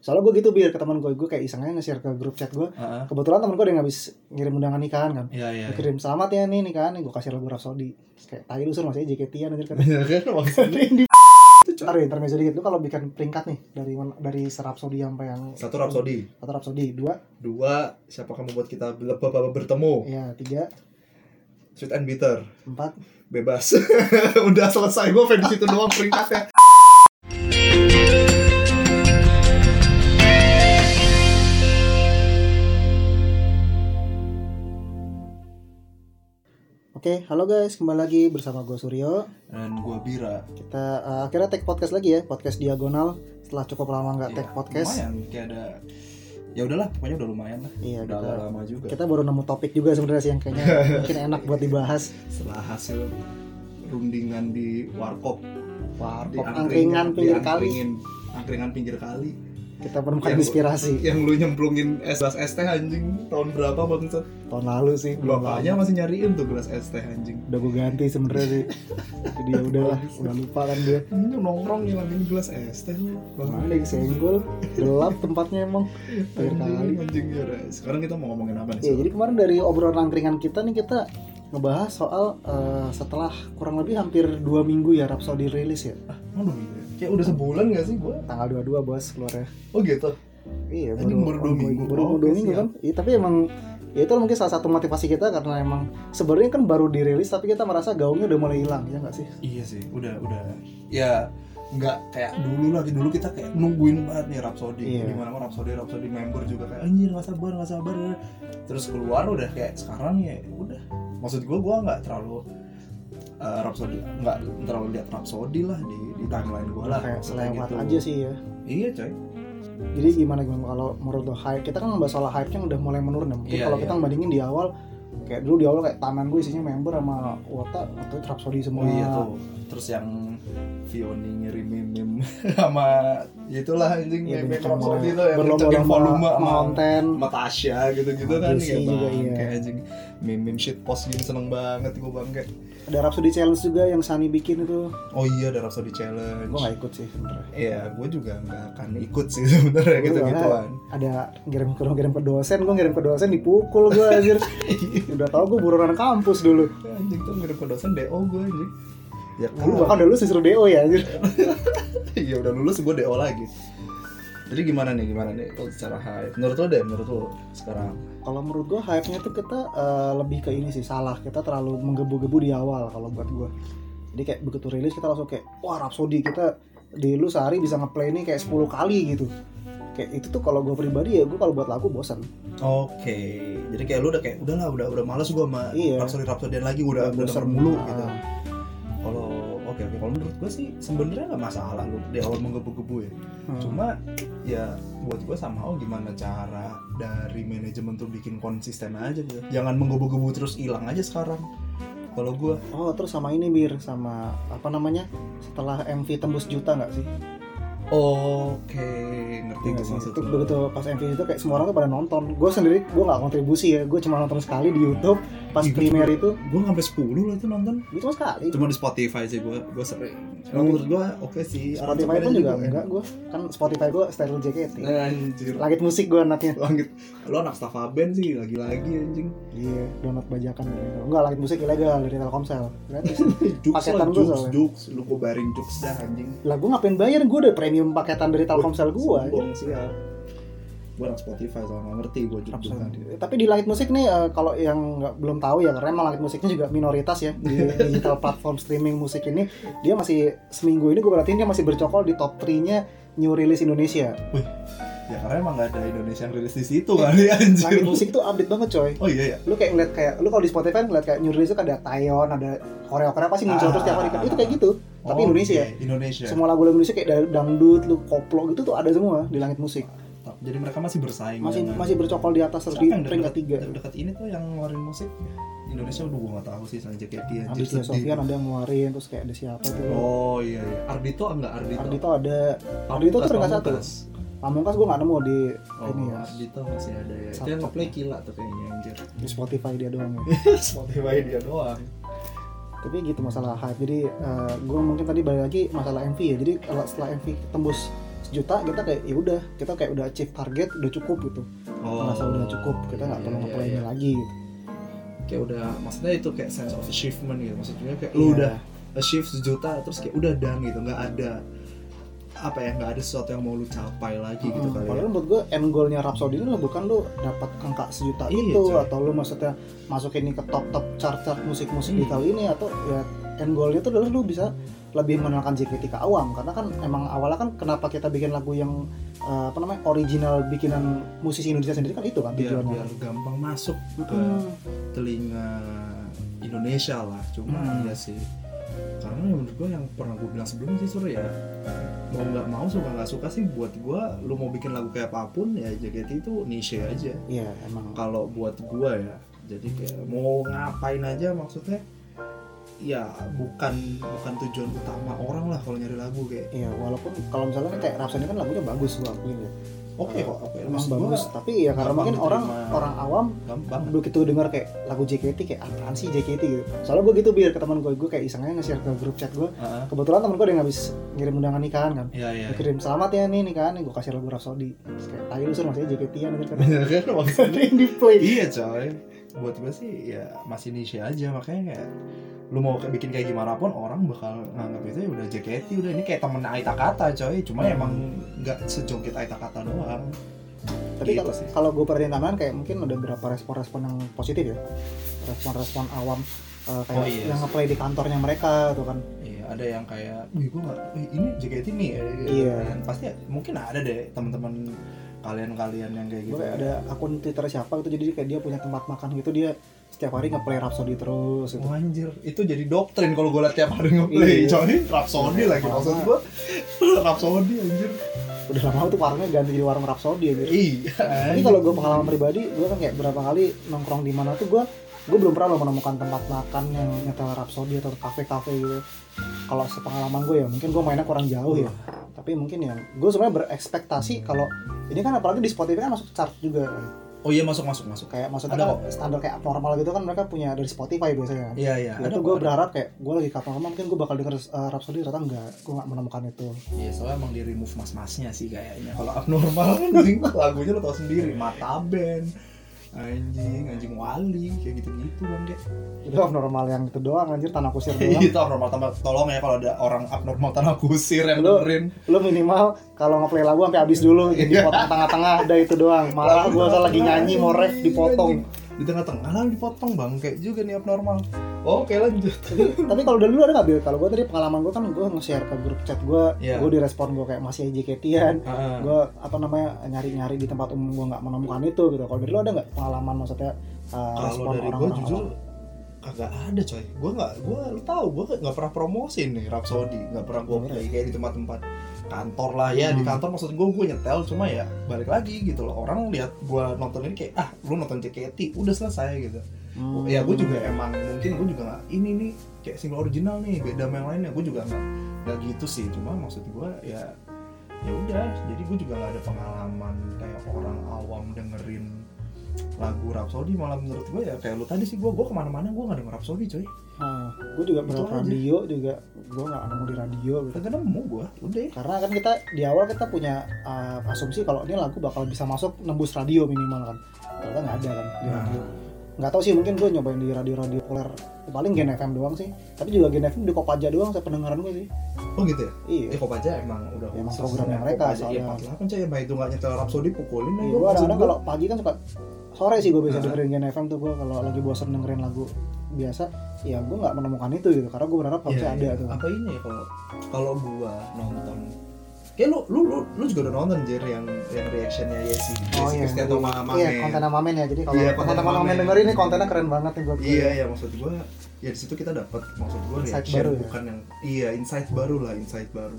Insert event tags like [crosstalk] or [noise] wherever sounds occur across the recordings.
soalnya gue gitu biar ke teman gue gue kayak iseng aja nge-share ke grup chat gue Heeh. kebetulan temen gue ada yang habis ngirim undangan nikahan kan Iya iya. Dia kirim selamat ya nih nikahan nih gue kasih lagu Rhapsody Terus kayak tai lu sur masih JKT-an anjir [laughs] kata [laughs] Iya kan di Ntar ya, intermezzo dikit. Lu kalau bikin peringkat nih dari mana- dari serapsodi sampai yang Satu Rhapsody Satu rapsodi, dua, Dua Siapakah membuat kita lebah baba bertemu ya tiga, Sweet and bitter empat. Bebas [laughs] Udah selesai Gue pengen situ doang peringkatnya Oke, halo guys, kembali lagi bersama gue Suryo. Dan gue Bira Kita eh, akhirnya tag podcast lagi ya, podcast diagonal. Setelah cukup lama nggak tag Iya, podcast, Lumayan kayak ada Ya udahlah pokoknya udah lumayan lah iya Udah kita agak lama juga kita baru nemu topik juga sebenarnya sih yang [laughs] kayaknya mungkin enak buat dibahas. Setelah hasil rundingan di warkop Wah, di pop angkringan Iya, pinggir kali. diangkringin. angkringan pinggir kali Kita menemukan Yang- inspirasi yang lu nyemplungin es gelas es teh anjing tahun berapa bangsat tahun lalu sih. belum bapaknya masih nyariin tuh gelas es teh anjing lama. udah gue ganti sebenarnya sih. Jadi ya [laughs] udahlah, udah lupa kan dia. Ini nongkrong ngilangin gelas es teh lu Bang. Mana yang senggol, gelap tempatnya emang. Pinggir kali. anjing anjing ya udah. sekarang kita mau ngomongin apa nih Iya, Sil? jadi kemarin dari obrolan angkringan kita nih kita ngebahas soal eh, setelah kurang lebih hampir dua minggu ya Rhapsody rilis ya Aduh, iya. kayak udah sebulan gak sih gua tanggal 22 bos keluarnya oh gitu iya Ini baru dua minggu. baru Oh, dua oke, minggu siap. kan iya tapi emang ya itu mungkin salah satu motivasi kita karena emang sebenarnya kan baru dirilis tapi kita merasa gaungnya udah mulai hilang ya nggak sih iya sih udah udah ya nggak kayak dulu lagi dulu kita kayak nungguin banget nih Rhapsody Iya. gimana mana Rhapsody Rhapsody member juga kayak anjir nggak sabar nggak sabar terus keluar udah kayak sekarang ya udah maksud gue gue nggak terlalu eh, Rhapsody nggak terlalu lihat Rhapsody lah di, di timeline gue lah kayak Maksudnya selewat gitu. aja sih ya iya coy jadi gimana gimana kalau menurut lo hype kita kan ngebahas soal hype nya udah mulai menurun ya. mungkin Iya, kalau iya. kita ngebandingin di awal kayak dulu di awal kayak taman gue isinya member sama Wota atau Rhapsody semua oh iya tuh terus yang Vioni ngirim meme [laughs] sama itulah anjing Iya, meme banyak yang Rhapsody ya. itu yang kencengin volume berlomba-lomba sama konten sama Tasya gitu-gitu kan Jesse ya juga, bang iya. kayak anjing meme meme shit post gini seneng banget gue bangke ada Rhapsody Challenge juga yang Sunny bikin itu oh iya ada Rhapsody Challenge gue gak ikut sih sebenernya Iya, gue juga nggak akan ikut sih [laughs] sebenarnya Gua gitu juga gituan. ada ngirim ke ngirim ke dosen gue ngirim ke dosen dipukul gue [laughs] anjir udah tau gue buronan kampus dulu Ya, anjing tuh ngirim ke dosen DO gue anjing. Ya dulu bahkan dulu disuruh DO ya anjir [laughs] Iya udah lulus gue DO lagi. Jadi gimana nih gimana nih kalau secara hype? Menurut lo deh, menurut lo sekarang kalau menurut gue hype-nya tuh kita eh, lebih ke ini sih salah kita terlalu menggebu-gebu di awal kalau buat gue jadi kayak begitu rilis kita langsung kayak wah Rhapsody kita di lu sehari bisa ngeplay ini kayak 10 kali gitu kayak itu tuh kalau gue pribadi ya gue kalau buat lagu bosan Oke, jadi kayak lu udah kayak udahlah udah udah malas gua sama Iya. Rhapsody Rhapsodyan lagi udah udah bosan denger mulu gitu. Kalau oke oke kalau menurut gua sih sebenarnya nggak masalah lu di awal menggebu-gebu ya. Hmm. Cuma ya buat gua sama oh gimana cara dari manajemen tuh bikin konsisten aja gitu. Jangan menggebu-gebu terus hilang aja sekarang. Kalau gua Oh terus sama ini Bir sama apa namanya setelah MV tembus juta nggak sih? oke ngerti Nggak gue sih? maksud Itu lu. begitu pas MV itu kayak semua orang tuh pada nonton. Gue sendiri gue nggak kontribusi ya, gue cuma nonton sekali di YouTube pas Ih, gua primer juga- itu, gua sampai 10 loh itu nonton. gue cuma sekali. Cuma di Spotify sih gua gua sering. Cuma- Kalau menurut gua oke sih. Spotify pun Iya, juga enggak gue kan Spotify gue Steril JKT. Anjir. Langit musik gue anaknya. langit lo anak Stafa Band sih lagi-lagi anjing Iya, download bajakan gitu. Enggak, langit musik ilegal dari Telkomsel. Gratis. jokes lah Paketan gua jokes soalnya. jokes lu gue bayarin jokes dah anjing lah gue ngapain bayar? Gue udah premium paketan dari Telkomsel gue. bohong sih ya gue anak Spotify soalnya nggak ngerti gue jokes juga Tapi di langit musik nih eh, kalau yang nggak belum tahu ya karena emang langit musiknya juga minoritas ya di digital platform streaming musik ini dia masih seminggu ini gue perhatiin dia masih bercokol di top 3-nya new release Indonesia. ya karena emang nggak ada Indonesia yang rilis di situ kali anjing Langit Iya. musik tuh update banget coy. oh iya ya Lu kayak ngeliat kayak lu kalau di Spotify kan ngeliat kayak new release tuh ada Taeyeon, ada Korea Korea pasti muncul terus tiap hari kan. Itu kayak gitu. Tapi Oh, Indonesia iya, Indonesia Semua lagu lagu Indonesia kayak dari dangdut, lu koplo gitu tuh ada semua di langit musik. jadi mereka masih bersaing Masih dengan- masih bercokol di atas terus Iya, Siapa di yang peringkat dekat tiga. dekat ini tuh yang ngeluarin musik Indonesia udah gue nggak tahu sih selain JKT anjir Habis dia sedih. Sofian ada yang ngeluarin terus kayak ada siapa tuh. oh gitu. iya iya Ardito enggak Ardito Ardito ada Ardhito tuh peringkat satu. Pamungkas. Pamungkas gue nggak nemu di Oh, ini ya Ardhito masih ada ya. Itu Sabtu. yang ngeplay gila tuh kayaknya [laughs] anjir. di Spotify dia doang ya. [laughs] Spotify dia doang. Tapi eh, gitu masalah hype. Jadi gue mungkin tadi balik lagi masalah MV ya. Jadi kalau setelah MV tembus 10 sejuta kita kayak ya udah kita kayak udah achieve target udah cukup gitu merasa udah cukup kita nggak perlu Oh. iya, ngeplay iya. lagi gitu. kayak udah maksudnya itu kayak sense of achievement gitu maksudnya kayak Iya. lu udah achieve sejuta terus kayak udah done gitu nggak ada apa ya nggak ada sesuatu yang mau lu capai lagi gitu Hmm, kali ya. Padahal menurut gue end goalnya Rhapsody ini lah bukan lu dapat angka sejuta Iya, itu coy. atau lu maksudnya masuk ini ke top top chart chart musik musik di Hmm. tahun ini atau ya end goalnya itu adalah lu bisa lebih mengenalkan JKT ke awam karena kan emang awalnya kan kenapa kita bikin lagu yang eh, apa namanya original bikinan musisi Indonesia sendiri kan itu kan biar tujuannya. biar gampang masuk gitu. ke Hmm. telinga Indonesia lah cuma Hmm. ya sih karena yang menurut gue yang pernah gue bilang sebelumnya sih Sur ya mau nggak mau suka nggak suka sih buat gue lu mau bikin lagu kayak apapun ya JKT itu niche aja Iya emang. kalau buat gua ya jadi kayak mau ngapain aja maksudnya ya bukan bukan tujuan utama orang lah kalau nyari lagu kayak Iya walaupun kalau misalnya kayak Rhapsody kan lagunya bagus gue akuin ya. oke kok oke Emang maksud gua bagus tapi ya karena gampang mungkin orang diterima. orang awam gampang begitu dengar gitu kayak lagu JKT kayak apaan sih JKT gitu soalnya gue gitu biar ke teman gue gue kayak isengnya nge-share ke grup chat gue Heeh. kebetulan temen gue ada yang habis ngirim undangan nikahan kan Iya iya. Dia kirim selamat ya nih nikahan nih gue kasih lagu Rhapsody Terus kayak tadi lu suruh masih JKT an gitu [laughs] kan Iya, Maksud- ada yang di play iya coy buat gua sih ya masih niche aja makanya kayak lu mau kayak bikin kayak gimana pun orang bakal nganggap itu ya udah JKT udah ini kayak temen Aita Kata coy cuma Hmm. emang nggak sejoget Aita Kata doang tapi gitu kalau sih. kalau gue perhatiin tambahan kayak mungkin ada beberapa respon-respon yang positif ya respon-respon awam eh, kayak Oh, iya yang sih. ngeplay di kantornya mereka tuh kan Iya, ada yang kayak, wih gue nggak, wih, ini JKT nih. ya, gitu Iya. kan. Pasti mungkin ada deh teman-teman kalian-kalian yang kayak Gue gitu. kayak ada akun Twitter siapa gitu jadi kayak dia punya tempat makan gitu dia setiap hari ngeplay Rhapsody terus gitu. Wah, Oh, anjir, itu jadi doktrin kalau gue liat tiap hari ngeplay. Iya. Jadi Rhapsody Iya, lagi maksud gue. [laughs] Rhapsody anjir. udah lama tuh warungnya ganti jadi warung Rhapsody aja Iya. Tapi kalau gue pengalaman pribadi, gue kan kayak berapa kali nongkrong di mana tuh gue gue belum pernah loh menemukan tempat makan yang nyetel Rhapsody atau kafe-kafe gitu. Kalau sepengalaman gue ya, mungkin gue mainnya kurang jauh ya. Tapi mungkin ya, gue sebenarnya berekspektasi kalau ini kan apalagi di Spotify kan masuk chart juga kan. Oh iya masuk masuk masuk. Kayak maksudnya Ada kan standar kayak abnormal gitu kan mereka punya dari Spotify biasanya kan. Iya iya. Ya, itu gue berharap kayak gue lagi kapal lama mungkin gue bakal denger uh, Rhapsody ternyata enggak gue nggak menemukan itu Iya soalnya emang di remove mas-masnya sih kayaknya. Kalau abnormal kan anjing lagunya lo tau sendiri. Mata band, anjing, anjing wali, kayak gitu-gitu kan deh. itu abnormal yang itu doang anjir tanah kusir doang Itu abnormal tambah tolong ya kalau ada orang abnormal tanah kusir yang Lu- dengerin. lu minimal kalau ngeplay lagu sampai habis dulu jadi potong tengah-tengah udah itu doang malah Iya. Lagu gue tengah-tengah, lagi nyanyi mau ref Iya, anjing, dipotong anjing. Di tengah-tengah lalu dipotong bang, kayak juga nih abnormal. Oke lanjut. tapi, tapi kalau dari lu ada nggak Bil? kalau gue tadi pengalaman gue kan gue nge-share ke grup chat gue Iya. gue direspon gue kayak masih JKT-an Heeh. gue apa namanya nyari-nyari di tempat umum gue nggak menemukan itu gitu kalau dari lu ada nggak pengalaman maksudnya uh, respon kalau dari gue orang-orang jujur kagak ada coy gue nggak gue lu tahu gue nggak pernah promosi nih Rhapsody nggak pernah gue Bener. ya? play kayak di tempat-tempat kantor lah ya di Hmm. kantor maksud gue gue nyetel cuma ya balik lagi gitu loh orang lihat gue nonton ini kayak ah lu nonton JKT udah selesai gitu Hmm. ya gue juga emang mungkin gue juga nggak ini nih kayak single original nih beda sama yang lainnya gue juga nggak nggak gitu sih cuma maksud gue ya ya udah jadi gue juga nggak ada pengalaman kayak orang awam dengerin lagu Rhapsody malah menurut gue ya kayak lu tadi sih gue gue kemana-mana gue nggak denger Rhapsody coy Nah, gue juga Itu berapa aja. radio juga gue nggak nemu di radio gitu kagak nemu gue udah karena kan kita di awal kita punya uh, asumsi kalau ini lagu bakal bisa masuk nembus radio minimal kan ternyata nggak ada kan di radio nggak tahu sih mungkin gue nyobain di radio-radio populer paling Gen FM doang sih tapi juga Gen FM di Kopaja doang saya pendengaran gue sih oh gitu ya iya ya kok aja emang udah Emang khusus programnya ya, mereka Kopaja. ya soalnya. empat delapan coy emang itu nggak nyetel Rhapsody pukulin gue aja Iya, kadang-kadang kalau pagi kan suka sore sih gue biasa Nah. dengerin Gen FM tuh gue kalau lagi bosan dengerin lagu biasa ya gue nggak menemukan itu gitu karena gue berharap harusnya ada tuh Iya, kan. Apa ini ya kalau kalau gua nonton Kayak lu, lu, lu, lu juga udah nonton Jer yang yang reactionnya Yesi Oh iya, Yesi Kristianto sama Mame iya konten sama Mamen ya. Jadi kalau Iya, konten teman-teman sama Mamen Mamen. dengerin ini kontennya keren banget nih buat gue. Iya iya maksud gua ya di situ kita dapat maksud gua Insight reaction baru ya? bukan yang iya insight baru lah insight baru.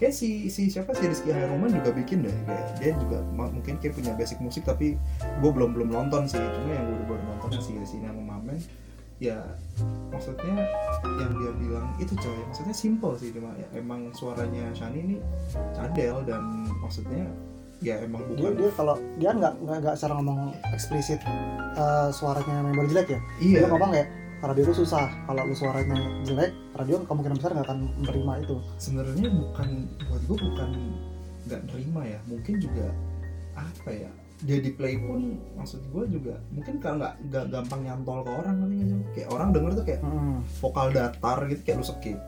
Kayak si si siapa si Rizky Haruman juga bikin deh kayak dia juga ma- mungkin kayak punya basic musik tapi gua belum belum nonton sih cuma yang gua udah baru nonton Hmm. si si Nang Mamen ya maksudnya yang dia bilang itu coy maksudnya simple sih cuma ya, emang suaranya Shani ini cadel dan maksudnya ya emang Dia bukan dia kalau dia nggak nggak nggak secara ngomong eksplisit eh, suaranya member jelek ya. iya Dia ngomong kayak radio itu susah. Kalau lu suaranya jelek, radio kemungkinan besar nggak akan menerima itu. sebenarnya bukan buat gue bukan nggak nerima ya mungkin juga apa ya dia di play pun maksud gue juga mungkin karena nggak nggak gampang nyantol ke orang nanti kan. kayak orang denger tuh kayak Hmm. vokal datar gitu kayak lu skip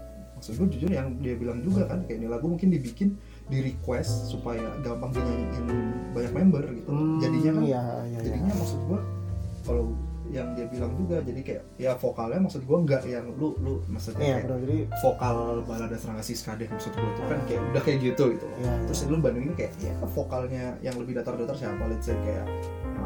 maksud gue jujur yang dia bilang juga kan kayak ini lagu mungkin dibikin di request supaya gampang dinyanyiin banyak member gitu jadinya kan ya, ya, ya. jadinya maksud gua kalau yang dia bilang juga jadi kayak ya vokalnya maksud gua nggak yang lu lu maksudnya Iya, kayak benar. Jadi vokal balada serangga siska deh maksud gua tuh Ah. kan kayak udah kayak gitu gitu loh Iya, iya. terus lu bandingin kayak ya vokalnya yang lebih datar-datar siapa let's say kayak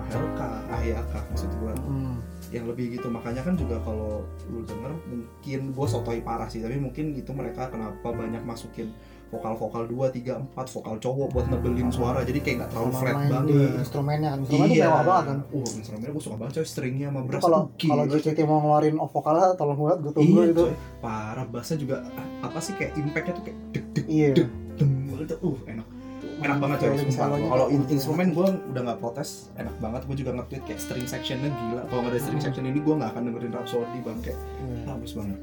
Helka, Ayaka iya maksud gua hmm. yang lebih gitu makanya kan juga kalau lu denger mungkin gue sotoi parah sih tapi mungkin itu mereka kenapa banyak masukin vokal-vokal 2, 3, 4 vokal cowok buat nebelin suara jadi kayak nggak terlalu Sama flat main di banget instrumennya kan. Instrumennya tuh mewah banget kan. Uh, instrumennya gue suka banget coy, stringnya sama Itu brass kalau tuh gila, kalau JKT mau ngeluarin off vokalnya tolong banget gue coy. tunggu Iya, itu. coy. Parah bassnya juga ah, apa sih kayak impactnya tuh kayak deg deg Iya. Duh. deng gitu. Uh, enak. Enak banget coy, Violin sumpah. solonya Kalau tuh in- enak. instrumen gue udah nggak protes, enak banget. Gue juga nge-tweet kayak string sectionnya gila. Kalau nggak ada string Hmm. section ini gue nggak akan dengerin Rhapsody bang kayak "Ah, Iya. bagus banget.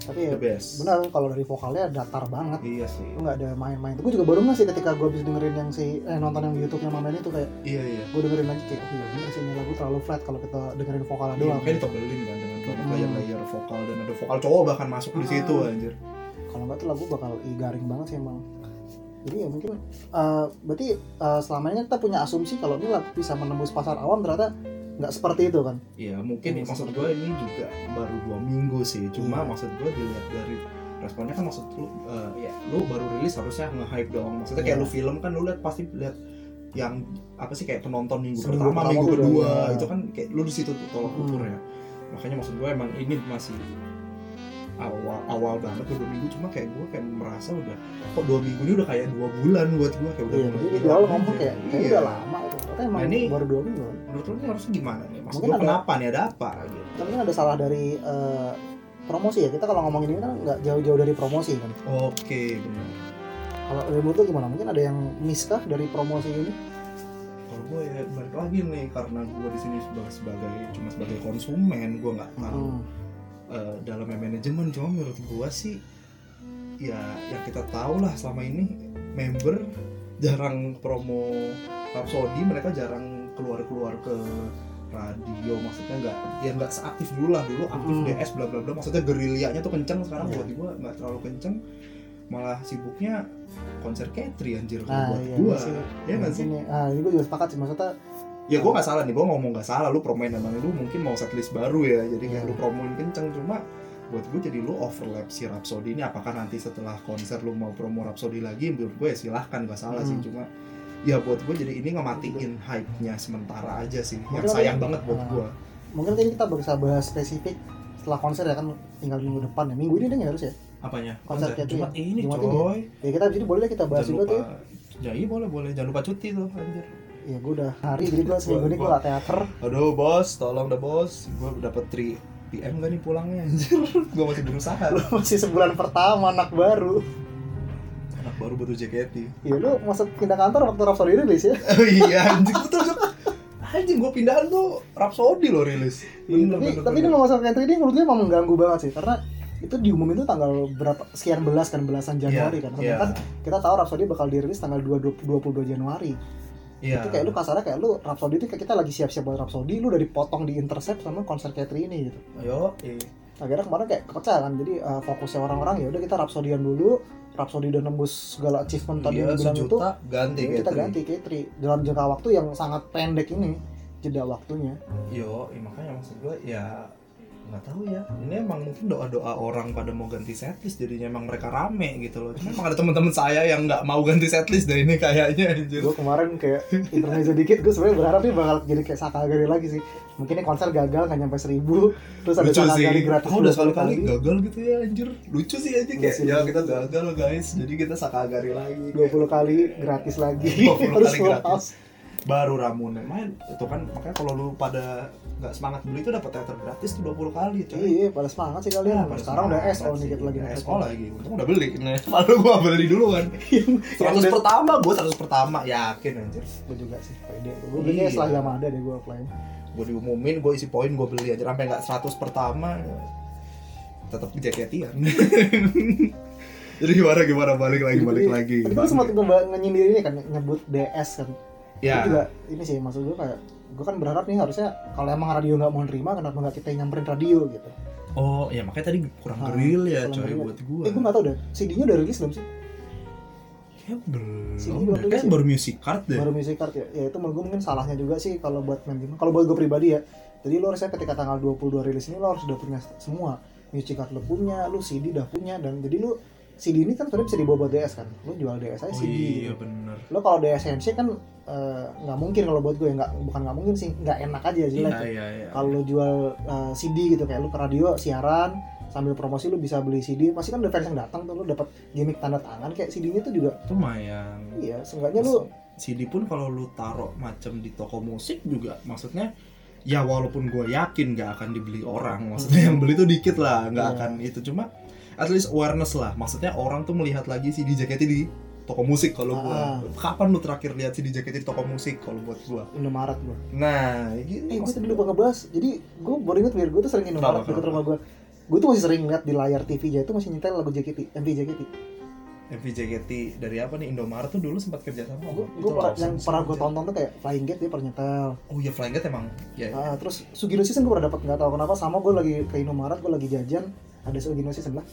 Tapi ya, The best. benar kalau dari vokalnya datar banget. Iya sih. Itu nggak ada main-main. Gue juga baru nggak sih ketika gue habis dengerin yang si eh, nonton yang di YouTube yang mamen itu kayak Iya iya. gue dengerin lagi kayak oh, iya bener sih ini lagu terlalu flat kalau kita dengerin vokalnya Iya, doang. makanya ditebelin kan dengan banyak Hmm. layer-layer vokal dan ada vokal cowok bahkan masuk di Hmm. situ anjir. kalau nggak tuh lagu bakal ih, garing banget sih emang jadi ya mungkin eh, berarti eh, selama ini kita punya asumsi kalau ini lagu bisa menembus pasar awam ternyata nggak seperti itu kan Iya mungkin Iya, maksud seperti gue ini juga baru dua minggu sih. Cuma Iya. maksud gue dilihat dari responnya kan maksud lu eh, ya lu baru rilis harusnya nge-hype dong. Maksudnya kayak Iya. lu film kan lu lihat pasti lihat yang apa sih kayak penonton minggu Seminggu pertama, pertama tuh minggu udah, kedua iya. itu kan kayak lu di situ tuh tolak Hmm. ukurnya. Makanya maksud gue emang ini masih awal awal banget tuh dua minggu cuma kayak gue kayak merasa udah kok dua minggu ini udah kayak dua bulan buat gue kayak udah iya mulai jadi di hilang awal aja. ngomong kayak "Ya kayak Iya. udah lama itu ternyata emang Nah, ini- baru dua minggu menurut lu ini harusnya gimana nih maksud Mungkin gue ada- kenapa nih ada apa gitu tapi kan ada salah dari eh, promosi ya kita kalau ngomongin ini kan nggak jauh-jauh dari promosi kan oke benar Hmm. kalau dari menurut lu gimana mungkin ada yang miss kah dari promosi ini kalau gue ya balik lagi nih karena gue di sini sebagai sebagai cuma sebagai konsumen gue nggak tahu hmm. eh, dalamnya manajemen cuma menurut gue sih ya yang kita tahu lah selama ini member jarang promo Rhapsody mereka jarang keluar keluar ke radio maksudnya nggak ya nggak seaktif dulu lah dulu aktif Hmm. DS bla bla bla maksudnya gerilyanya tuh kenceng sekarang Iya. buat gue nggak terlalu kenceng malah sibuknya konser Katri anjir kalau nah buat iya gue sih ya kan sih ini ah ini gue juga sepakat sih maksudnya ya gue nggak salah nih gue ngomong nggak salah lu promoin emang lu mungkin mau setlist baru ya jadi kayak Iya. lu promoin kenceng cuma buat gue jadi lu overlap si Rhapsody ini apakah nanti setelah konser lu mau promo Rhapsody lagi menurut gue ya silahkan nggak salah sih Hmm. cuma ya buat gue jadi ini ngematiin hype-nya sementara aja sih yang Mungkin sayang lagi- banget buat Ah. gue mungkin tadi kita bisa bahas spesifik setelah konser ya kan tinggal minggu depan ya minggu ini deh nggak harus ya apanya Konser Katri Jumat ya? ini Jumat ini ya? coy ya kita abis ini boleh deh kita bahas jangan juga lupa tuh ya ya iya boleh boleh jangan lupa cuti tuh anjir ya gue udah hari jadi gue seminggu ini gue Gua- gak teater [laughs] aduh bos tolong dah bos gue dapat 3 PM gak nih pulangnya [laughs] anjir gue masih berusaha lu masih sebulan pertama anak baru anak baru baru JKT ya lu masuk pindah kantor waktu Rhapsody rilis ya [laughs] Oh iya anjing betul Jok. Anjing gue pindahan tuh Rhapsody lo rilis. Iya, tapi tapi ini kalau masalah entry ini menurut gue emang mengganggu banget sih karena itu diumumin tuh tanggal berapa sekian belas kan Iya, belasan Januari kan sedangkan kita tahu Rhapsody bakal dirilis tanggal 2 22 Januari Iya. itu kayak lu kasarnya kayak lu Rhapsody itu kayak kita lagi siap-siap buat Rhapsody lu udah dipotong di intercept sama konser Katri ini gitu Ayo. eh. akhirnya kemarin kayak kepecah kan jadi uh, fokusnya orang-orang ya udah kita rapsodian dulu rapsodi udah nembus segala achievement tadi yang Iya bilang itu sejuta ganti gitu. jadi kita ganti Katri dalam jangka waktu yang sangat pendek ini jeda waktunya Yo, eh, makanya maksud gue ya nggak tahu ya. Ini emang mungkin doa-doa orang pada mau ganti setlist jadinya emang mereka rame gitu loh. Cuma emang ada teman-teman saya yang nggak mau ganti setlist deh ini kayaknya anjir. gue kemarin [laughs] kayak intermezzo dikit gue sebenarnya berharap nih bakal jadi kayak Sakagari lagi sih mungkin ini konser gagal nggak nyampe seribu terus ada lucu sih. Sakagari gratis Aku udah 20 sekali-kali gagal gitu ya anjir. Lucu sih aja Iya kayak sih, ya lucu. kita gagal guys. Jadi kita sakagari lagi. 20 kali gratis [laughs] lagi 20 terus kali full gratis. house. baru ramuan main itu kan makanya kalau lu pada nggak semangat beli itu dapat teater gratis tuh 20 kali coy iya pada semangat sih kalian sekarang udah SO nih kita lagi Ya, lagi ngetek. SO lagi untung udah beli nah [laughs] malu gua [laughs] beli dulu kan 100 udah- pertama gua 100 pertama yakin anjir gue juga sih pede gue belinya Iya. setelah Yamada deh gue offline gua diumumin gua isi poin gua beli anjir ya, sampai nggak 100 pertama tetap kejadian [laughs] Jadi gimana gimana balik lagi balik lagi. Tapi kan sempat gue nyindir ini kan nyebut DS kan. Itu Ya, juga ini sih maksud gue kayak gue kan berharap nih harusnya kalau emang radio nggak mau nerima kenapa nggak kita yang nyamperin radio gitu. oh ya makanya tadi kurang Ah, geril ya kurang coy geril. buat gua. Eh gue nggak tahu deh CD-nya udah rilis belum sih? Ya Sini belum, belum deh. kan sih. baru music card deh. Baru music card ya. Ya itu menurut gue mungkin salahnya juga sih kalau buat main game. Kalau buat gue pribadi ya. Jadi lo harusnya ketika tanggal 22 rilis ini lo harus udah punya semua. Music card lo punya, lo CD udah punya dan jadi lo CD ini kan sebenarnya bisa dibawa buat DS kan. Lo jual DS aja Oh CD. iya bener. Lo kalau DSMC kan eh, nggak mungkin kalau buat gue ya nggak bukan nggak mungkin sih nggak enak aja jelek. Iya iya iya. Kalau lo jual eh, CD gitu kayak lo ke radio siaran sambil promosi lo bisa beli CD pasti kan ada fans yang datang tuh lo dapat gimmick tanda tangan kayak CD-nya tuh juga Lumayan. iya seenggaknya lo CD pun kalau lu taruh macam di toko musik juga maksudnya ya walaupun gue yakin gak akan dibeli orang maksudnya yang beli tuh dikit lah nggak Iya. akan itu cuma at least awareness lah maksudnya orang tuh melihat lagi CD jaketnya di toko musik kalau gue Ah. kapan lu terakhir lihat CD jaketnya di toko musik kalau buat gue Indomaret gue nah Eh, ini gue tadi lupa ngebahas. Jadi, gue baru inget, Mir. Gue tuh sering Indomaret Kenapa, deket kenapa? rumah gue. Gue tuh masih sering lihat di layar TV aja itu masih nyetel lagu JKT, MV JKT. MV JKT dari apa nih Indomaret tuh dulu sempat kerja sama Gue gue sama Peter pernah- Lawson yang pernah gue sempat tonton tuh kayak Flying Gate dia pernah nyetel. kerja. oh iya Flying Gat emang ya Ah, terus Sugino Season gue pernah dapat nggak tahu kenapa sama gue lagi ke Indomaret gue lagi jajan ada Sugino Season lah.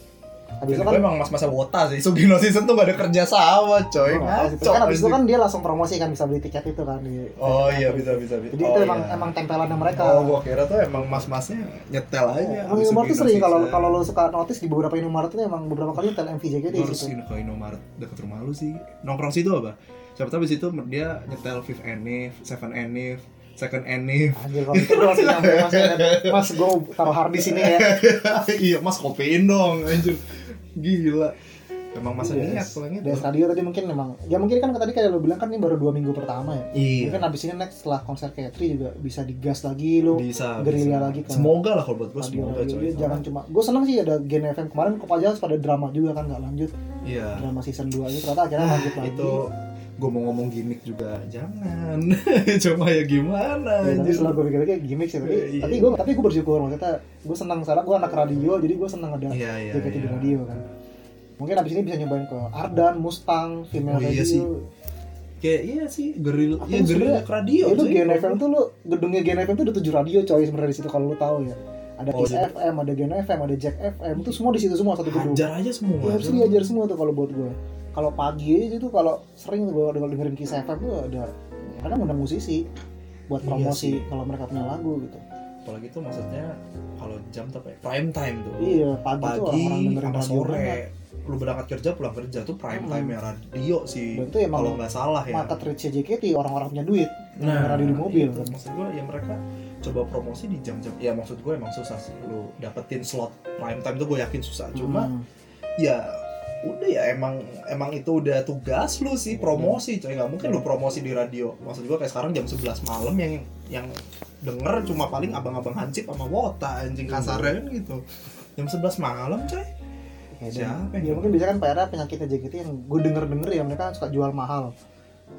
Habis itu Dan gue kan emang mas-masa wota sih, Sugino Season tuh gak ada kerja sama gue coy nggak tahu sih. Ngaco, Terus kan habis itu anjing. kan dia langsung promosi kan bisa beli tiket itu kan. di- Oh iya bisa bisa bisa. Jadi oh, itu emang iya. emang tempelannya mereka. Oh gua Iya, kira tuh emang mas-masnya nyetel aja. Emang Indomaret tuh sering kalau kalau lo suka notice di beberapa Indomaret tuh emang beberapa kali nyetel MV JKT di harus situ. ke Indomaret deket rumah lu sih. Nongkrong situ apa? Siapa tahu di situ dia nyetel Fifth Anniv, Seven Anniv, Second Anniv. Anjir kalau gitu gua masih nyampe Mas, mas gue taruh hard di sini ya [laughs] iya mas kopiin dong anjir. Gila. Emang masa Iya, niat pulangnya DS radio tadi mungkin memang ya mungkin kan tadi kayak lo bilang kan ini baru dua minggu pertama ya mungkin Iya. abis ini next setelah konser Katri juga bisa digas lagi lo Bisa. gerilya bisa. lagi ke- Semoga lah kalau buat gua radio semoga radio coy. dia jangan cuma gue seneng sih ada Gen FM kemarin kok aja pada drama juga kan nggak lanjut Iya. drama season 2 aja ternyata akhirnya lanjut lagi Ah, Itu gue mau ngomong gimmick juga jangan [laughs] cuma ya gimana Ya, tapi anjir. setelah gue pikir-pikir gimmick sih tapi Iya. tapi gue tapi gue bersyukur maksudnya gue senang sekarang gue anak radio jadi gue senang ada Iya iya. JKT di iya. radio kan mungkin abis ini bisa nyobain ke Ardan, Mustang, Female Oh, Radio iya sih. Kayak iya sih geril Atau ya geril sebenarnya- ke radio Ya, lu sih. Gen FM tuh lu gedungnya Gen FM tuh ada tujuh radio coy sebenarnya di situ kalau lu tahu ya. Ada Oh, Kiss iya. FM, ada Gen FM, ada Jack FM, itu semua di situ semua satu gedung. Hajar aja semua. Ya, harus diajar semua tuh kalau buat gue. Kalau pagi aja itu kalau sering tuh gue dengerin Kiss FM tuh ada kadang undang musisi buat Iya promosi sih. kalau mereka punya lagu gitu. Apalagi tuh maksudnya kalau jam tuh apa ya? Prime time tuh. Iya, pagi, tuh Pagi orang-orang dengerin sama radio sore. banget. Lu berangkat kerja pulang kerja tuh prime Hmm. time ya radio sih. Dan itu emang Kalau nggak salah ya. Market reach JKT orang-orang punya duit Nah. dengerin radio di mobil itu. kan. maksud gue ya mereka coba promosi di jam-jam ya maksud gue emang susah sih lu dapetin slot prime time tuh gue yakin susah cuma Hmm. ya udah ya emang emang itu udah tugas lu sih promosi coy nggak mungkin lu promosi di radio maksud gua kayak sekarang jam 11 malam yang yang denger cuma paling abang-abang hansip sama wota anjing kasarnya kan gitu jam 11 malam coy Ya, Siapa dan, yang ya mungkin bisa kan PR penyakitnya JKT yang gue denger denger ya mereka suka jual mahal.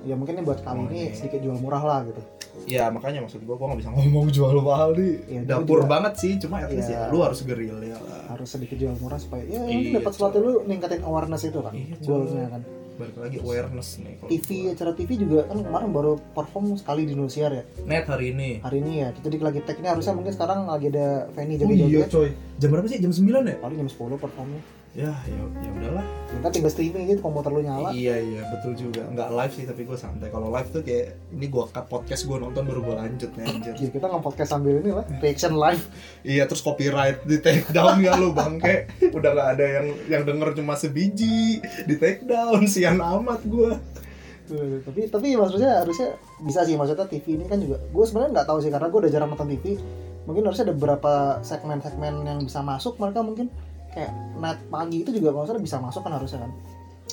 Ya mungkin ini buat kali Oh, ini iya. sedikit jual murah lah gitu. ya makanya maksud gua gua nggak bisa ngomong jual mahal di Iya, gua dapur juga. banget sih cuma at least Iya. ya lu harus geril ya lah Harus sedikit jual murah supaya ya Iya, mungkin dapat coy. slot lu ningkatin awareness itu kan. Iya, coy. goalnya kan. balik lagi awareness nih kalau TV gua. acara TV juga kan kemarin baru perform sekali di Indosiar ya. net hari ini Hari ini ya kita di lagi tag ini harusnya mungkin sekarang lagi ada Feni oh jadi iya joget. coy jam berapa sih jam 9 ya Paling jam 10 performnya. ya ya ya udahlah Kita tinggal streaming aja komputer lu nyala. Iya iya betul juga. Nggak live sih tapi gue santai. Kalau live tuh kayak ini gue cut podcast gue nonton baru gue lanjut nih anjir. Ya, kita nge-podcast sambil ini lah, reaction live. iya terus copyright di take down ya lu bangke. Udah nggak ada yang yang denger cuma sebiji di take down sian amat gue. Tuh, tapi tapi maksudnya harusnya bisa sih maksudnya TV ini kan juga gue sebenarnya nggak tahu sih karena gue udah jarang nonton TV mungkin harusnya ada beberapa segmen-segmen yang bisa masuk mereka mungkin kayak net pagi itu juga kalau nggak salah bisa masuk kan harusnya kan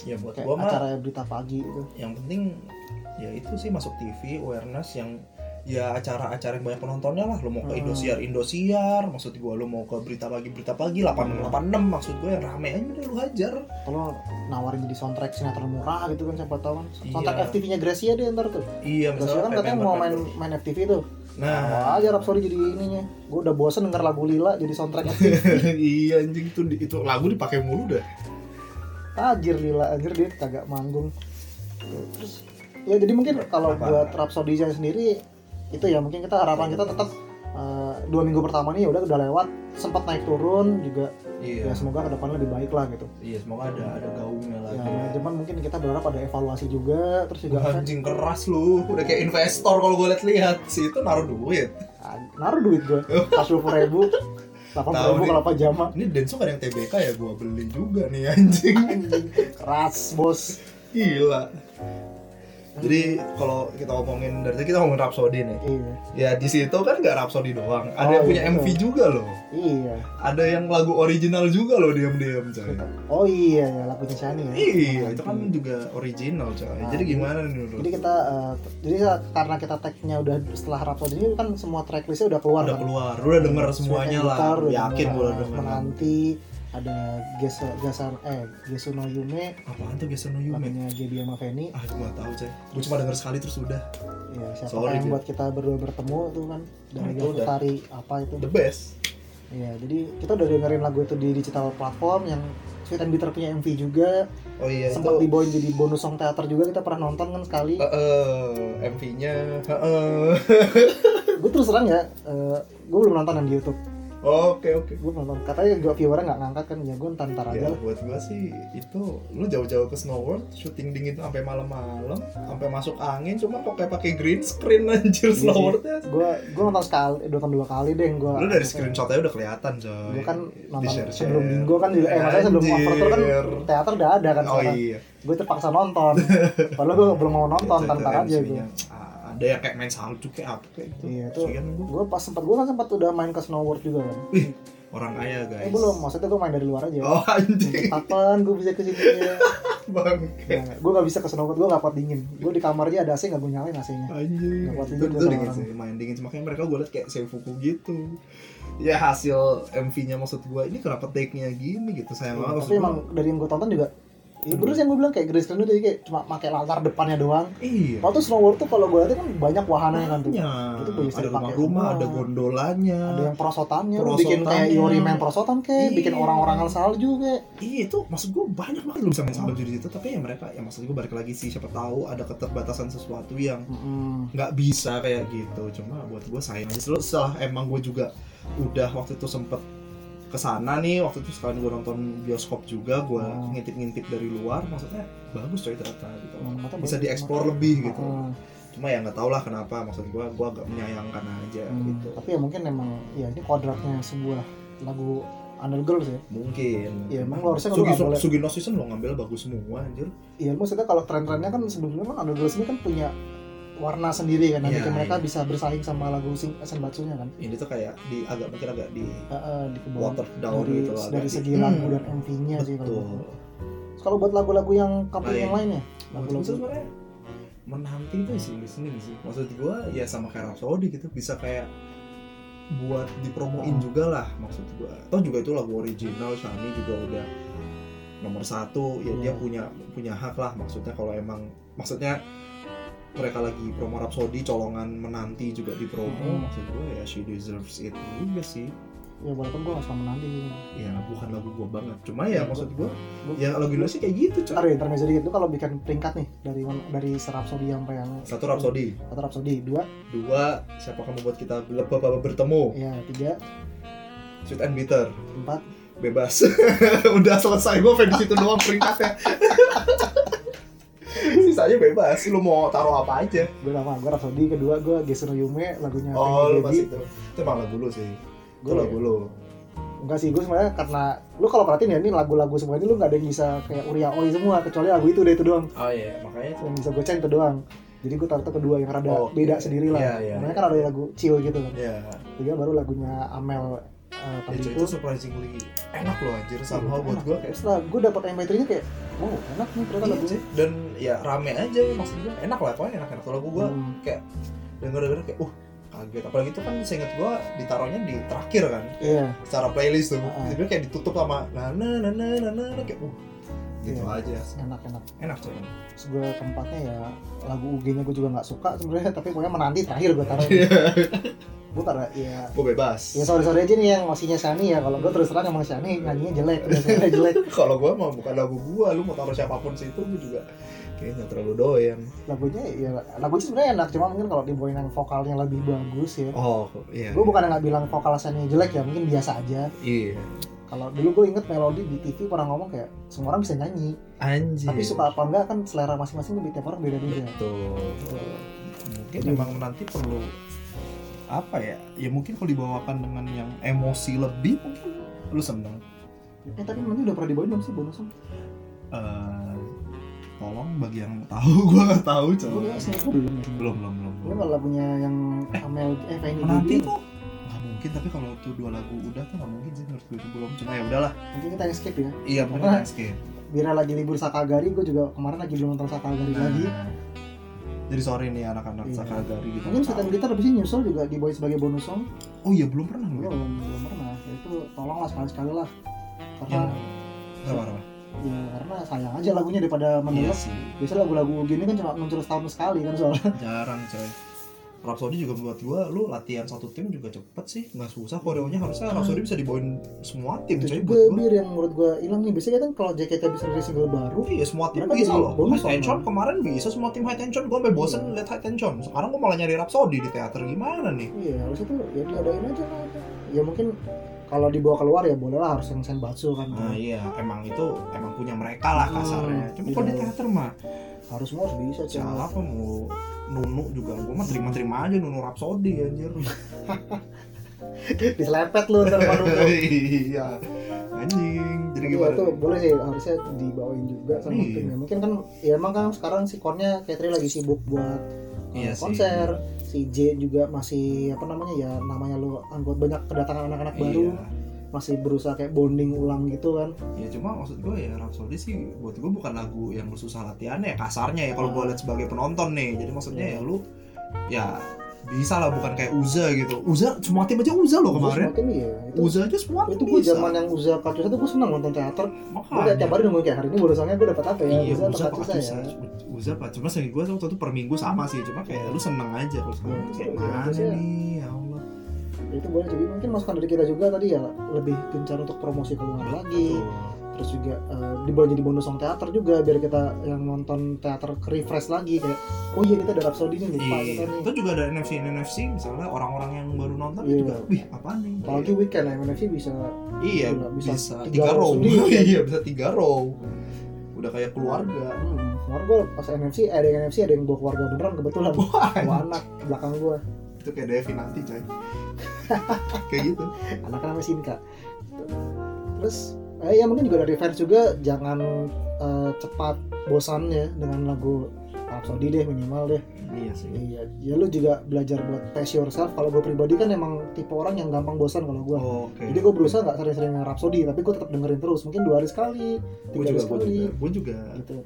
Ya buat kayak gue mah acara berita pagi gitu. itu yang penting ya itu sih masuk TV awareness yang ya acara-acara yang banyak penontonnya lah lu mau ke Hmm. Indosiar Indosiar maksud gue lu mau ke berita pagi berita pagi Hmm. 8686 maksud gue yang rame aja udah lu hajar kalau nawarin jadi soundtrack sinetron murah gitu kan siapa tahu kan soundtrack Iya. FTV-nya Gracia deh ntar tuh iya Gracia kan katanya mau main member-member. main FTV tuh nah nah aja Rhapsody jadi ininya gue udah bosen [laughs] denger lagu Lila jadi soundtrack FTV iya anjing itu itu lagu dipakai mulu dah tajir lila anjir dia kagak manggung terus ya jadi mungkin kalau buat Rhapsody Jazz sendiri itu ya mungkin kita harapan kita tetap eh, dua minggu pertama nih udah udah lewat sempat naik turun juga iya ya semoga kedepannya lebih baik lah gitu iya semoga ada ada gaungnya lagi ya cuman mungkin kita berharap ada evaluasi juga terus juga kan anjing keras lu udah kayak investor kalau gue lihat-lihat si itu naruh duit [laughs] ah, naruh duit gue pas dua puluh ribu delapan Tahu ribu ah? nih. kalau pajama ini Denso ada yang TBK ya gue beli juga nih [laughs] anjing Anjing, keras bos gila jadi kalau kita ngomongin dari tadi kita ngomongin Rhapsody nih iya ya di situ kan nggak Rhapsody doang ada Oh, yang punya iya, MV betul. juga loh iya ada yang lagu original juga loh diam-diam coy oh iya ya lagunya Shani ya Iya, Oh, itu kan juga original coy. Nah, Jadi jadi- gimana nih menurut? jadi kita eh, jadi karena kita tagnya udah setelah Rhapsody ini kan semua tracklistnya udah keluar udah kan? keluar, udah denger semuanya lah. Gitar, udah Yakin denger, gue udah denger. menanti ada Gesa Gasar eh Gesuno Yume Apaan tuh Gesano Yume? lagunya Gaby sama Feni Ah, gue gak tau coy. Gue cuma denger sekali terus udah. ya siapa Sorry, yang Bi. buat kita berdua bertemu itu kan dari Itu Gavi udah. Tari apa itu The best. ya jadi kita udah dengerin lagu itu di digital platform yang Sweet and Bitter punya MV juga Oh iya, sempat dibawain jadi bonus song teater juga kita pernah nonton kan sekali Eh, eh, MV-nya. eh, eh. gue terus terang ya eh, gue belum nonton yang di YouTube [laughs] Oke, oke. gue nonton katanya juga viewernya nggak ngangkat kan ya gue ntar ntar aja Ya lah buat gua sih itu lu jauh-jauh ke Snow World syuting dingin sampai malam-malam sampai masuk angin cuma pakai pakai green screen [laughs] anjir Iya Snow sih. Worldnya gue gue nonton sekali eh, nonton dua kali deh gue lu dari screenshot aja udah kelihatan coy gue kan nonton Di-share-share. sebelum minggu kan di, eh maksudnya sebelum Anjir. overture kan teater udah ada kan oh sekarang. iya gue terpaksa [laughs] nonton padahal gue belum mau nonton Itu- ntar itu ntar aja gue MC-nya. Gitu, kan, Ah, ada yang kayak main salju kayak apa kayak itu Iya, itu- Kasihan gua. gue pas sempat gue kan sempat udah main ke Snow World juga kan Wih, orang kaya guys eh belum Iya. maksudnya gue main dari luar aja oh [laughs] anjing kapan gue bisa ke sini ya bangke gue gak bisa ke Snow World gue gak kuat dingin gue di kamar aja ada AC gak gue nyalain AC-nya anjing Nggak kuat itu, dingin itu sama dingin orang. sih main dingin sih. makanya mereka gue liat kayak seifuku gitu ya hasil MV-nya maksud gue ini kenapa take-nya gini gitu sayang banget maksud Iya, tapi gue emang dari yang gue tonton juga ya Hmm. bener sih yang gue bilang kayak green screen itu jadi kayak cuma pakai latar depannya doang iya Waktu Snow World tuh kalau gue lihat kan banyak wahananya kan tuh Makanya, Itu bisa ada dipakai rumah-rumah, semua. ada gondolanya. ada yang perosotannya, lu bikin kayak Perosotannya. Yori main perosotan kayak bikin Iya. orang-orangan salju kayak Iya itu maksud gue banyak banget lu bisa main Iya. salju di situ tapi ya mereka ya maksud gue balik lagi sih siapa tahu ada keterbatasan sesuatu yang Mm-mm. nggak bisa kayak gitu cuma buat gue sayang aja terus setelah emang gue juga udah waktu itu sempet kesana nih waktu itu sekalian gue nonton bioskop juga gue Hmm. ngintip-ngintip dari luar maksudnya bagus coy ternyata gitu Hmm, mata bisa bagus. dieksplor lebih gitu Mm. cuma ya nggak tau lah kenapa maksud gue gue agak menyayangkan aja Hmm, gitu tapi ya mungkin emang ya ini kodratnya sebuah lagu undergirl sih mungkin Ya, emang lo harusnya Sugi, nggak boleh. Sugino season lo ngambil bagus semua anjir ya maksudnya kalau tren-trennya kan sebelumnya kan undergirl ini kan punya warna sendiri kan nanti Iya, mereka iya. bisa bersaing sama lagu sing senbatsunya kan ini tuh kayak di agak mungkin agak di Eh, eh, di kebawah water down dari gitu lah dari agak di- segi Hmm, lagu dan MV-nya sih kalau betul menurut gua. Terus kalau buat lagu-lagu yang kampung yang lainnya Menurut gue lagu-lagu sebenarnya menanti itu sih listening sih. Maksud gue ya sama kayak Rhapsody gitu bisa kayak buat dipromoin Hmm. juga lah maksud gue. Atau juga itu lagu original Shani juga udah nomor satu ya dia Iya. punya punya hak lah maksudnya kalau emang maksudnya mereka lagi promo Rhapsody colongan menanti juga di promo Hmm. maksud gue ya she deserves it juga sih ya walaupun gue gak suka menanti sih ya bukan lagu gue banget cuma ya Iya, maksud gue gua- ya lagu Indonesia kayak gitu coy ntar ya ntar sedikit lu kalau bikin peringkat nih dari dari serapsodi sampai yang satu Rhapsody satu Rhapsody, dua dua siapa kamu buat kita bapak bertemu ya tiga sweet and bitter empat bebas [laughs] udah selesai gue pengen di situ doang peringkatnya [laughs] sisanya bebas lu mau taruh apa aja gue lama gue Rhapsody kedua gue Gesuno Yume lagunya oh Fenty lu Baby. pas itu itu emang lagu lu sih itu Gua- ya? lagu lu Enggak sih, gue sebenarnya karena lu kalau perhatiin ya ini lagu-lagu semua ini lu nggak ada yang bisa kayak Uria Oi semua kecuali lagu itu deh itu doang oh iya makanya yang bisa gue ceng itu doang. Jadi gue taruh tuh kedua yang rada Oke. beda sendiri lah. Iya, iya, Karena iya. kan ada lagu chill gitu kan. ya Tiga baru lagunya Amel eh, tadi itu, itu. itu surprisingly enak loh anjir somehow buat Iya, Enak. gue kayak Terus lah gue dapet MP3-nya kayak, wow enak nih ternyata Iya, lagunya. cuy. dan ya rame aja maksudnya enak lah pokoknya enak enak Tuh lagu gue Hmm. kayak denger denger kayak uh kaget apalagi itu kan seinget gue ditaruhnya di terakhir kan Iya, secara playlist tuh Heeh. tiba kayak ditutup sama na na na na na na, na, kayak uh gitu Iya. aja enak-enak enak tuh terus gue tempatnya ya lagu UG nya gue juga nggak suka sebenarnya tapi pokoknya menanti terakhir gue taruh gue taruh ya gue bebas ya sorry sorry aja nih yang ngasihnya Shani ya kalau gue terus terang emang Shani nyanyinya jelek [laughs] biasanya jelek [laughs] kalau gue mau bukan lagu gue lu mau taruh siapapun situ gue juga kayaknya nggak terlalu doyan lagunya ya lagunya sebenarnya enak cuma mungkin kalau dibawain yang vokalnya lebih bagus ya oh iya gue bukan nggak bilang vokal Shani jelek ya mungkin biasa aja iya kalau dulu gue inget melodi di TV pernah ngomong kayak semua orang bisa nyanyi anjir tapi suka apa enggak kan selera masing-masing lebih tiap orang beda-beda tuh mungkin Iya. memang nanti perlu apa ya ya mungkin kalau dibawakan dengan yang emosi lebih mungkin lu seneng eh tapi nanti udah pernah dibawain belum sih bonus song Eh, tolong bagi yang tahu [laughs] gue nggak tahu gue coba kayaknya sih gue belum ya. belum belum belum, Lu belum. kalau punya yang Amel eh Fanny nanti Dudi, tuh nggak mungkin tapi kalau tuh dua lagu udah tuh nggak mungkin sih menurut gue belum cuma ya udahlah mungkin kita yang skip ya. iya mungkin Apa? next game Bira lagi libur Sakagari, gue juga kemarin lagi belum nonton Sakagari Hmm. lagi. Nah. jadi sorry nih anak-anak Iya. Sakagari gitu Mungkin Setan Blitar lebih sih nyusul juga dibawain sebagai bonus song. oh iya belum pernah Gue lu belum belum pernah. Ya Itu tolonglah sekali sekali lah. Karena yang apa apa ya karena sayang aja lagunya daripada iya menelus. sih Biasanya lagu-lagu gini kan cuma muncul setahun sekali kan soalnya. jarang coy Rhapsody juga buat gua, lu latihan satu tim juga cepet sih, nggak susah koreonya harusnya Rhapsody bisa dibawain semua tim Itu coy juga buat gua. bir yang menurut gue hilang nih. Biasanya kan kalau JKT bisa rilis single baru, Iya semua tim Mereka bisa Iya. jadi loh. bonus High tension orang. kemarin bisa semua tim high tension. Gue sampai bosen liat high tension. Sekarang gue malah nyari Rhapsody di teater gimana nih? Iya harusnya tuh ya diadain aja lah. Ya mungkin kalau dibawa keluar ya boleh lah harus yang senbatsu kan. Nah iya emang itu emang punya mereka lah kasarnya. Hmm, Cuma kalau di iya. teater mah Harus semua harus bisa cuma. siapa mau Nunu juga gue mah terima-terima aja Nunu Rhapsody anjir. [laughs] Diselepet lu ntar baru. [laughs] [laughs] iya anjing. Jadi Iya gimana? tuh boleh sih harusnya dibawain juga sama Iya. timnya. Mungkin kan ya emang kan sekarang si Kornya Katri lagi sibuk buat uh, Iya sih. konser. Si J juga masih apa namanya ya namanya lu anggota banyak kedatangan anak-anak baru Iya. masih berusaha kayak bonding ulang gitu kan. Ya cuma maksud gue ya Rhapsody sih buat gue bukan lagu yang lu susah latihannya ya kasarnya ya kalau gue lihat sebagai penonton nih. Jadi maksudnya ya lu ya bisa lah bukan kayak Uza gitu. Uza semua tim aja Uza loh Oh, kemarin. Terus makin iya itu. Uza aja semua itu tim gue bisa. zaman yang Uza Kacusa tuh gue seneng nonton teater gue Makanya. tiap hari nungguin kayak hari ini bonusannya gue dapat apa ya Iya, Uza Uza atau apa Kacusa ya Uza, Uza apa? Cuma segi gue waktu itu per minggu sama sih, cuma kayak lu seneng aja kalau sekarang Iya, kayak iya, mana iya. nih, ya Allah. itu boleh jadi mungkin masukan dari kita juga tadi ya lebih gencar untuk promosi keluar lagi Betul. terus juga eh, dibawa jadi bonus song teater juga biar kita yang nonton teater ke refresh lagi kayak oh iya kita ada Rhapsody nih lupa Iya, kita nih itu juga ada NFC NFC misalnya orang-orang yang baru nonton kan Iya. juga, wih apaan nih? apalagi weekend MNFC bisa Iya Gila, bisa bisa, tiga tiga row row. sendiri. [laughs] iya bisa tiga row. Udah kayak keluarga. hmm, kemarin gue pas MNFC eh, ada yang MNFC ada yang bawa keluarga beneran kebetulan Wah bawa anak belakang gue [laughs] itu kayak Devi nanti [laughs] coy. kayak gitu. anaknya namanya Sinka terus eh, ya mungkin juga dari fans juga jangan eh, cepat bosannya dengan lagu Rhapsody deh minimal deh Iya sih. Iya, ya lu juga belajar buat pace yourself. Kalau gue pribadi kan emang tipe orang yang gampang bosan kalau gue. Oke. Jadi gue berusaha nggak sering-sering dengerin Rhapsody, tapi gue tetap dengerin terus. Mungkin dua hari sekali, gue tiga hari juga, gue sekali. juga, gue juga Gitu.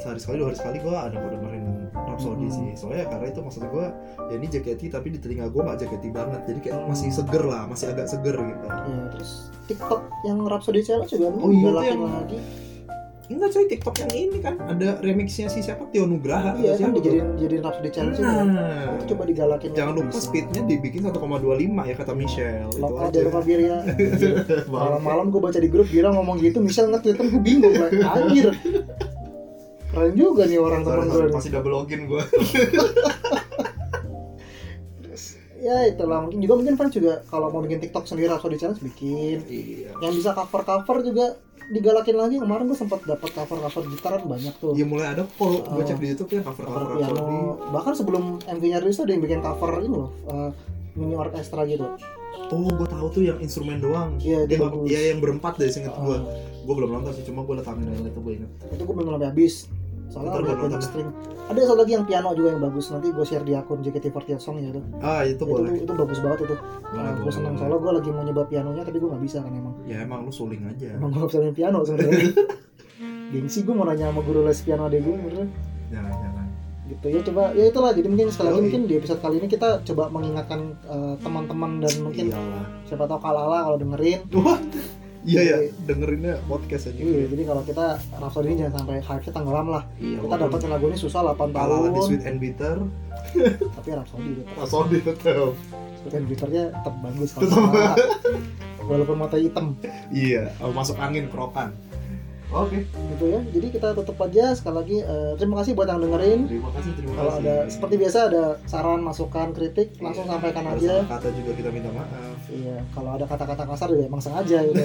sehari sekali dua hari sekali gue ada gue dengerin Rhapsody Hmm. sih soalnya karena itu maksud gue ya ini JKT tapi di telinga gue nggak JKT banget jadi kayak masih seger lah masih agak seger gitu Ya, terus TikTok yang Rhapsody Challenge juga Oh iya, galakin itu yang- lagi. enggak coy TikTok yang ini kan ada remixnya si siapa Tio Nugraha Iya, atau kan siapa dijadiin jadiin Rhapsody Challenge juga. nah Itu coba digalakin. jangan lupa Bisa. speednya dibikin 1,25 ya kata Michelle itu Lokal aja Iya. jangan lupa bir [laughs] ya. Anjir. Bang. Malam-malam gue baca di grup Gira ngomong gitu, misal nge-tweet kan gue bingung kayak anjir. Keren juga nih orang teman Sorry, gue. sorry, masih double login gue ya itulah mungkin juga mungkin fans juga kalau mau bikin TikTok sendiri atau di challenge bikin iya yang bisa cover cover juga digalakin lagi kemarin gue sempat dapat cover cover gitaran banyak tuh Iya mulai ada kalau Oh. gue cek di YouTube ya cover cover cover cover piano di bahkan sebelum MV-nya rilis tuh ada yang bikin cover ini loh eh, mini orkestra gitu oh gue tahu tuh yang instrumen doang Iya, itu Dia nggak- bagus. iya yang berempat deh seinget gue Eh, gue belum nonton sih cuma gue liat thumbnail itu gue inget itu gue belum sampai habis soalnya Ntar ada gua nonton banyak string ada satu lagi yang piano juga yang bagus nanti gue share di akun JKT48 song ya tuh ah itu, itu, boleh itu, bagus banget itu Eh, Boleh, gue boleh, seneng boleh. soalnya gue lagi mau nyoba pianonya tapi gue nggak bisa kan emang ya emang lu suling aja Emang gue bisa main piano [laughs] sebenarnya. Gengsi gue mau nanya sama guru les piano adek gue bener. jangan jangan Gitu ya coba ya itulah jadi mungkin sekali lagi Yoi. mungkin di episode kali ini kita coba Iya. mengingatkan eh, teman-teman dan mungkin iyalah siapa tahu kalala kalau dengerin wah Iya ya, dengerinnya podcast aja. Iya, jadi kalau kita Rhapsody ini jangan sampai hype-nya tenggelam lah. Iya. Kita dapetin lagu ini susah 8 Pala di tahun, Sweet and Bitter, tapi Rhapsody gitu. tetap. Rhapsody tetap. Sweet and Bitter-nya tetap bagus kalau Tetap. salah. Walaupun mata hitam Iya, oh, masuk angin kerokan. Oke, gitu ya. Jadi kita tutup aja sekali lagi eh, terima kasih buat yang dengerin. terima kasih, terima Kalau kasih. ada seperti biasa ada saran, masukan, kritik langsung Iya, sampaikan ada aja. salah kata juga kita minta maaf. Iya, kalau ada kata-kata kasar ya emang sengaja [laughs] gitu.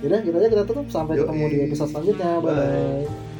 Yaudah, kita aja kita tutup sampai ketemu di Yoi. episode selanjutnya. Bye. Bye. -bye.